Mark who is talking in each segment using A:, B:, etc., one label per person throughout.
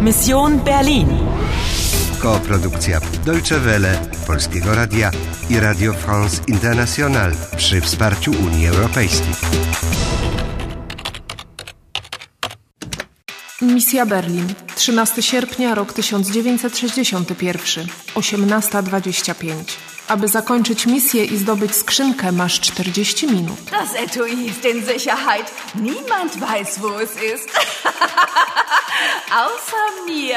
A: Mission Berlin.
B: Koprodukcja Deutsche Welle, Polskiego Radia i Radio France International przy wsparciu Unii Europejskiej.
C: Misja Berlin, 13 sierpnia rok 1961, 18.25. Aby zakończyć misję i zdobyć skrzynkę, masz 40 minut.
D: Das Etui ist in Sicherheit. Niemand weiß, wo es ist. Außer mir.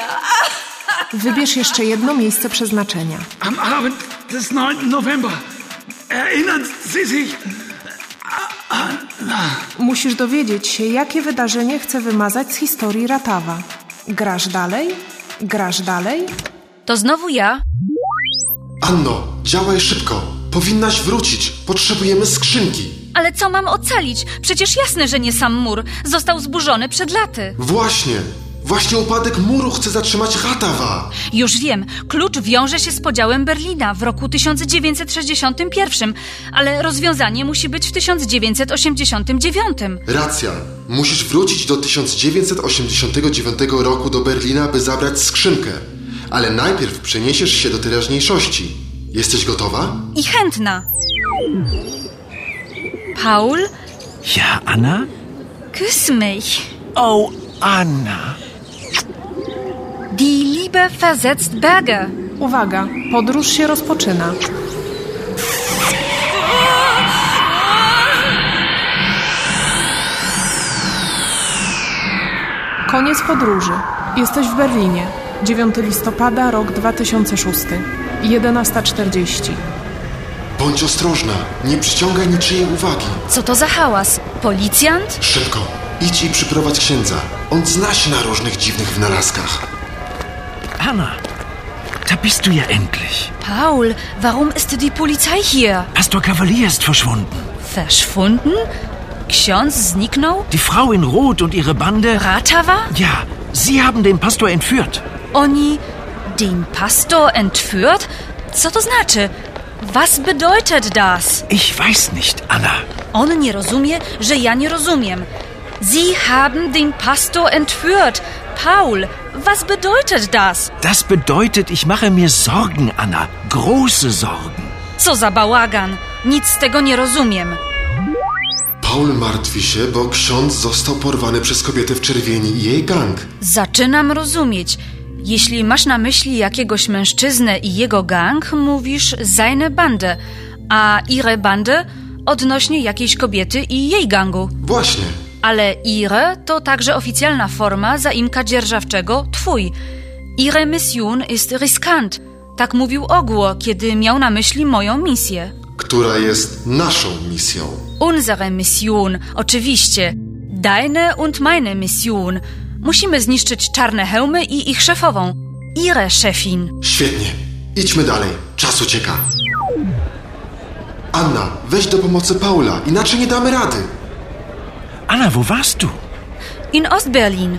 C: Wybierz jeszcze jedno miejsce przeznaczenia.
E: Am Abend des 9. November erinnern Sie sich
C: Musisz dowiedzieć się, jakie wydarzenie chce wymazać z historii Ratawa. Grasz dalej? Grasz dalej?
F: To znowu ja?
G: Anno, działaj szybko. Powinnaś wrócić. Potrzebujemy skrzynki.
F: Ale co mam ocalić? Przecież jasne, że nie sam mur. Został zburzony przed laty.
G: Właśnie. Właśnie upadek muru chce zatrzymać Ratawa.
F: Już wiem, klucz wiąże się z podziałem Berlina w roku 1961, ale rozwiązanie musi być w 1989.
G: Racja. Musisz wrócić do 1989 roku do Berlina, by zabrać skrzynkę. Ale najpierw przeniesiesz się do teraźniejszości. Jesteś gotowa?
F: I chętna. Paul,
H: Ja, Anna?
F: küss mich.
H: Oh, Anna.
F: Die Liebe versetzt Berge.
C: Uwaga, podróż się rozpoczyna. Koniec podróży. Jesteś w Berlinie. 9 listopada, rok 2006. 11.40.
G: Bądź ostrożna. Nie przyciągaj niczyjej uwagi.
F: Co to za hałas? Policjant?
G: Szybko. Idź i przyprowadź księdza. On zna się na różnych dziwnych wynalazkach.
H: Anna, da bist du ja endlich.
F: Paul, warum ist die Polizei hier?
H: Pastor Cavalier ist verschwunden.
F: Verschwunden? Ksiądz zniknął?
H: Die Frau in Rot und ihre Bande.
F: Ratawa?
H: Ja, sie haben den Pastor entführt.
F: Oni den Pastor entführt? Co to znaczy? Was bedeutet das?
H: Ich weiß nicht, Anna.
F: On nie rozumie, że ja nie rozumiem. Sie haben den Pastor entführt. Paul, was bedeutet das?
H: Das bedeutet, ich mache mir Sorgen, Anna. Große Sorgen.
F: Co za bałagan? Nic z tego nie rozumiem.
G: Paul martwi się, bo ksiądz został porwany przez kobietę w czerwieni i jej gang.
F: Zaczynam rozumieć. Jeśli masz na myśli jakiegoś mężczyznę i jego gang, mówisz seine Bande, a ihre Bande odnośnie jakiejś kobiety i jej gangu.
G: Właśnie.
F: Ale Ire to także oficjalna forma zaimka dzierżawczego twój. Ire Mission ist riskant. Tak mówił Ogło, kiedy miał na myśli moją misję.
G: Która jest naszą misją.
F: Unsere Mission, oczywiście. Deine und meine Mission. Musimy zniszczyć czarne hełmy i ich szefową. Ire szefin.
G: Świetnie. Idźmy dalej. Czas ucieka. Anna, weź do pomocy Paula, inaczej nie damy rady.
H: Anna, wo warst du?
F: In Ostberlin.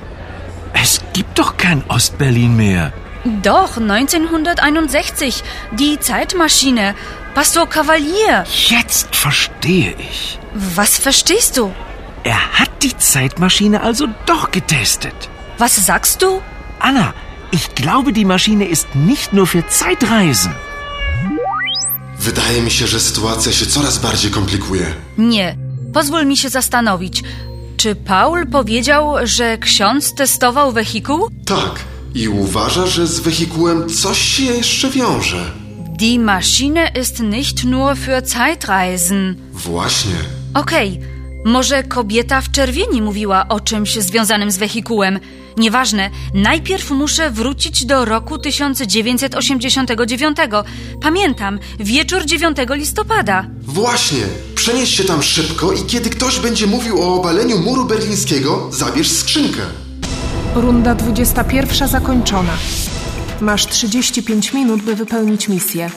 H: Es gibt doch kein Ostberlin mehr.
F: Doch, 1961. Die Zeitmaschine. Pastor Cavalier.
H: Jetzt verstehe ich.
F: Was verstehst du?
H: Er hat die Zeitmaschine also doch getestet.
F: Was sagst du?
H: Anna, ich glaube, die Maschine ist nicht nur für Zeitreisen.
G: Wydaje mi się, że sytuacja się coraz bardziej komplikuje.
F: Nie. Pozwól mi się zastanowić. Czy Paul powiedział, że ksiądz testował wehikuł?
G: Tak, i uważa, że z wehikułem coś się jeszcze wiąże.
F: Die Maschine ist nicht nur für Zeitreisen.
G: Właśnie.
F: Okej, może kobieta w czerwieni mówiła o czymś związanym z wehikułem. Nieważne, najpierw muszę wrócić do roku 1989. Pamiętam, wieczór 9 listopada.
G: Właśnie. Przenieś się tam szybko i kiedy ktoś będzie mówił o obaleniu muru berlińskiego, zabierz skrzynkę.
C: Runda 21 zakończona. Masz 35 minut, by wypełnić misję.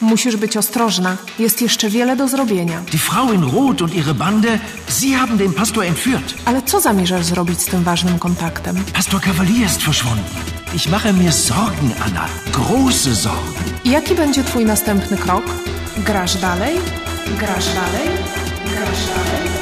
C: Musisz być ostrożna. Jest jeszcze wiele do zrobienia.
H: Die Frau in Rot und ihre Bande, sie haben den Pastor entführt.
C: Ale co zamierzasz zrobić z tym ważnym kontaktem?
H: Pastor Cavalier ist verschwunden. Ich mache mir Sorgen, Anna. Große Sorgen.
C: Jaki będzie Twój następny krok? Grasz dalej? Grasz dalej? Grasz dalej?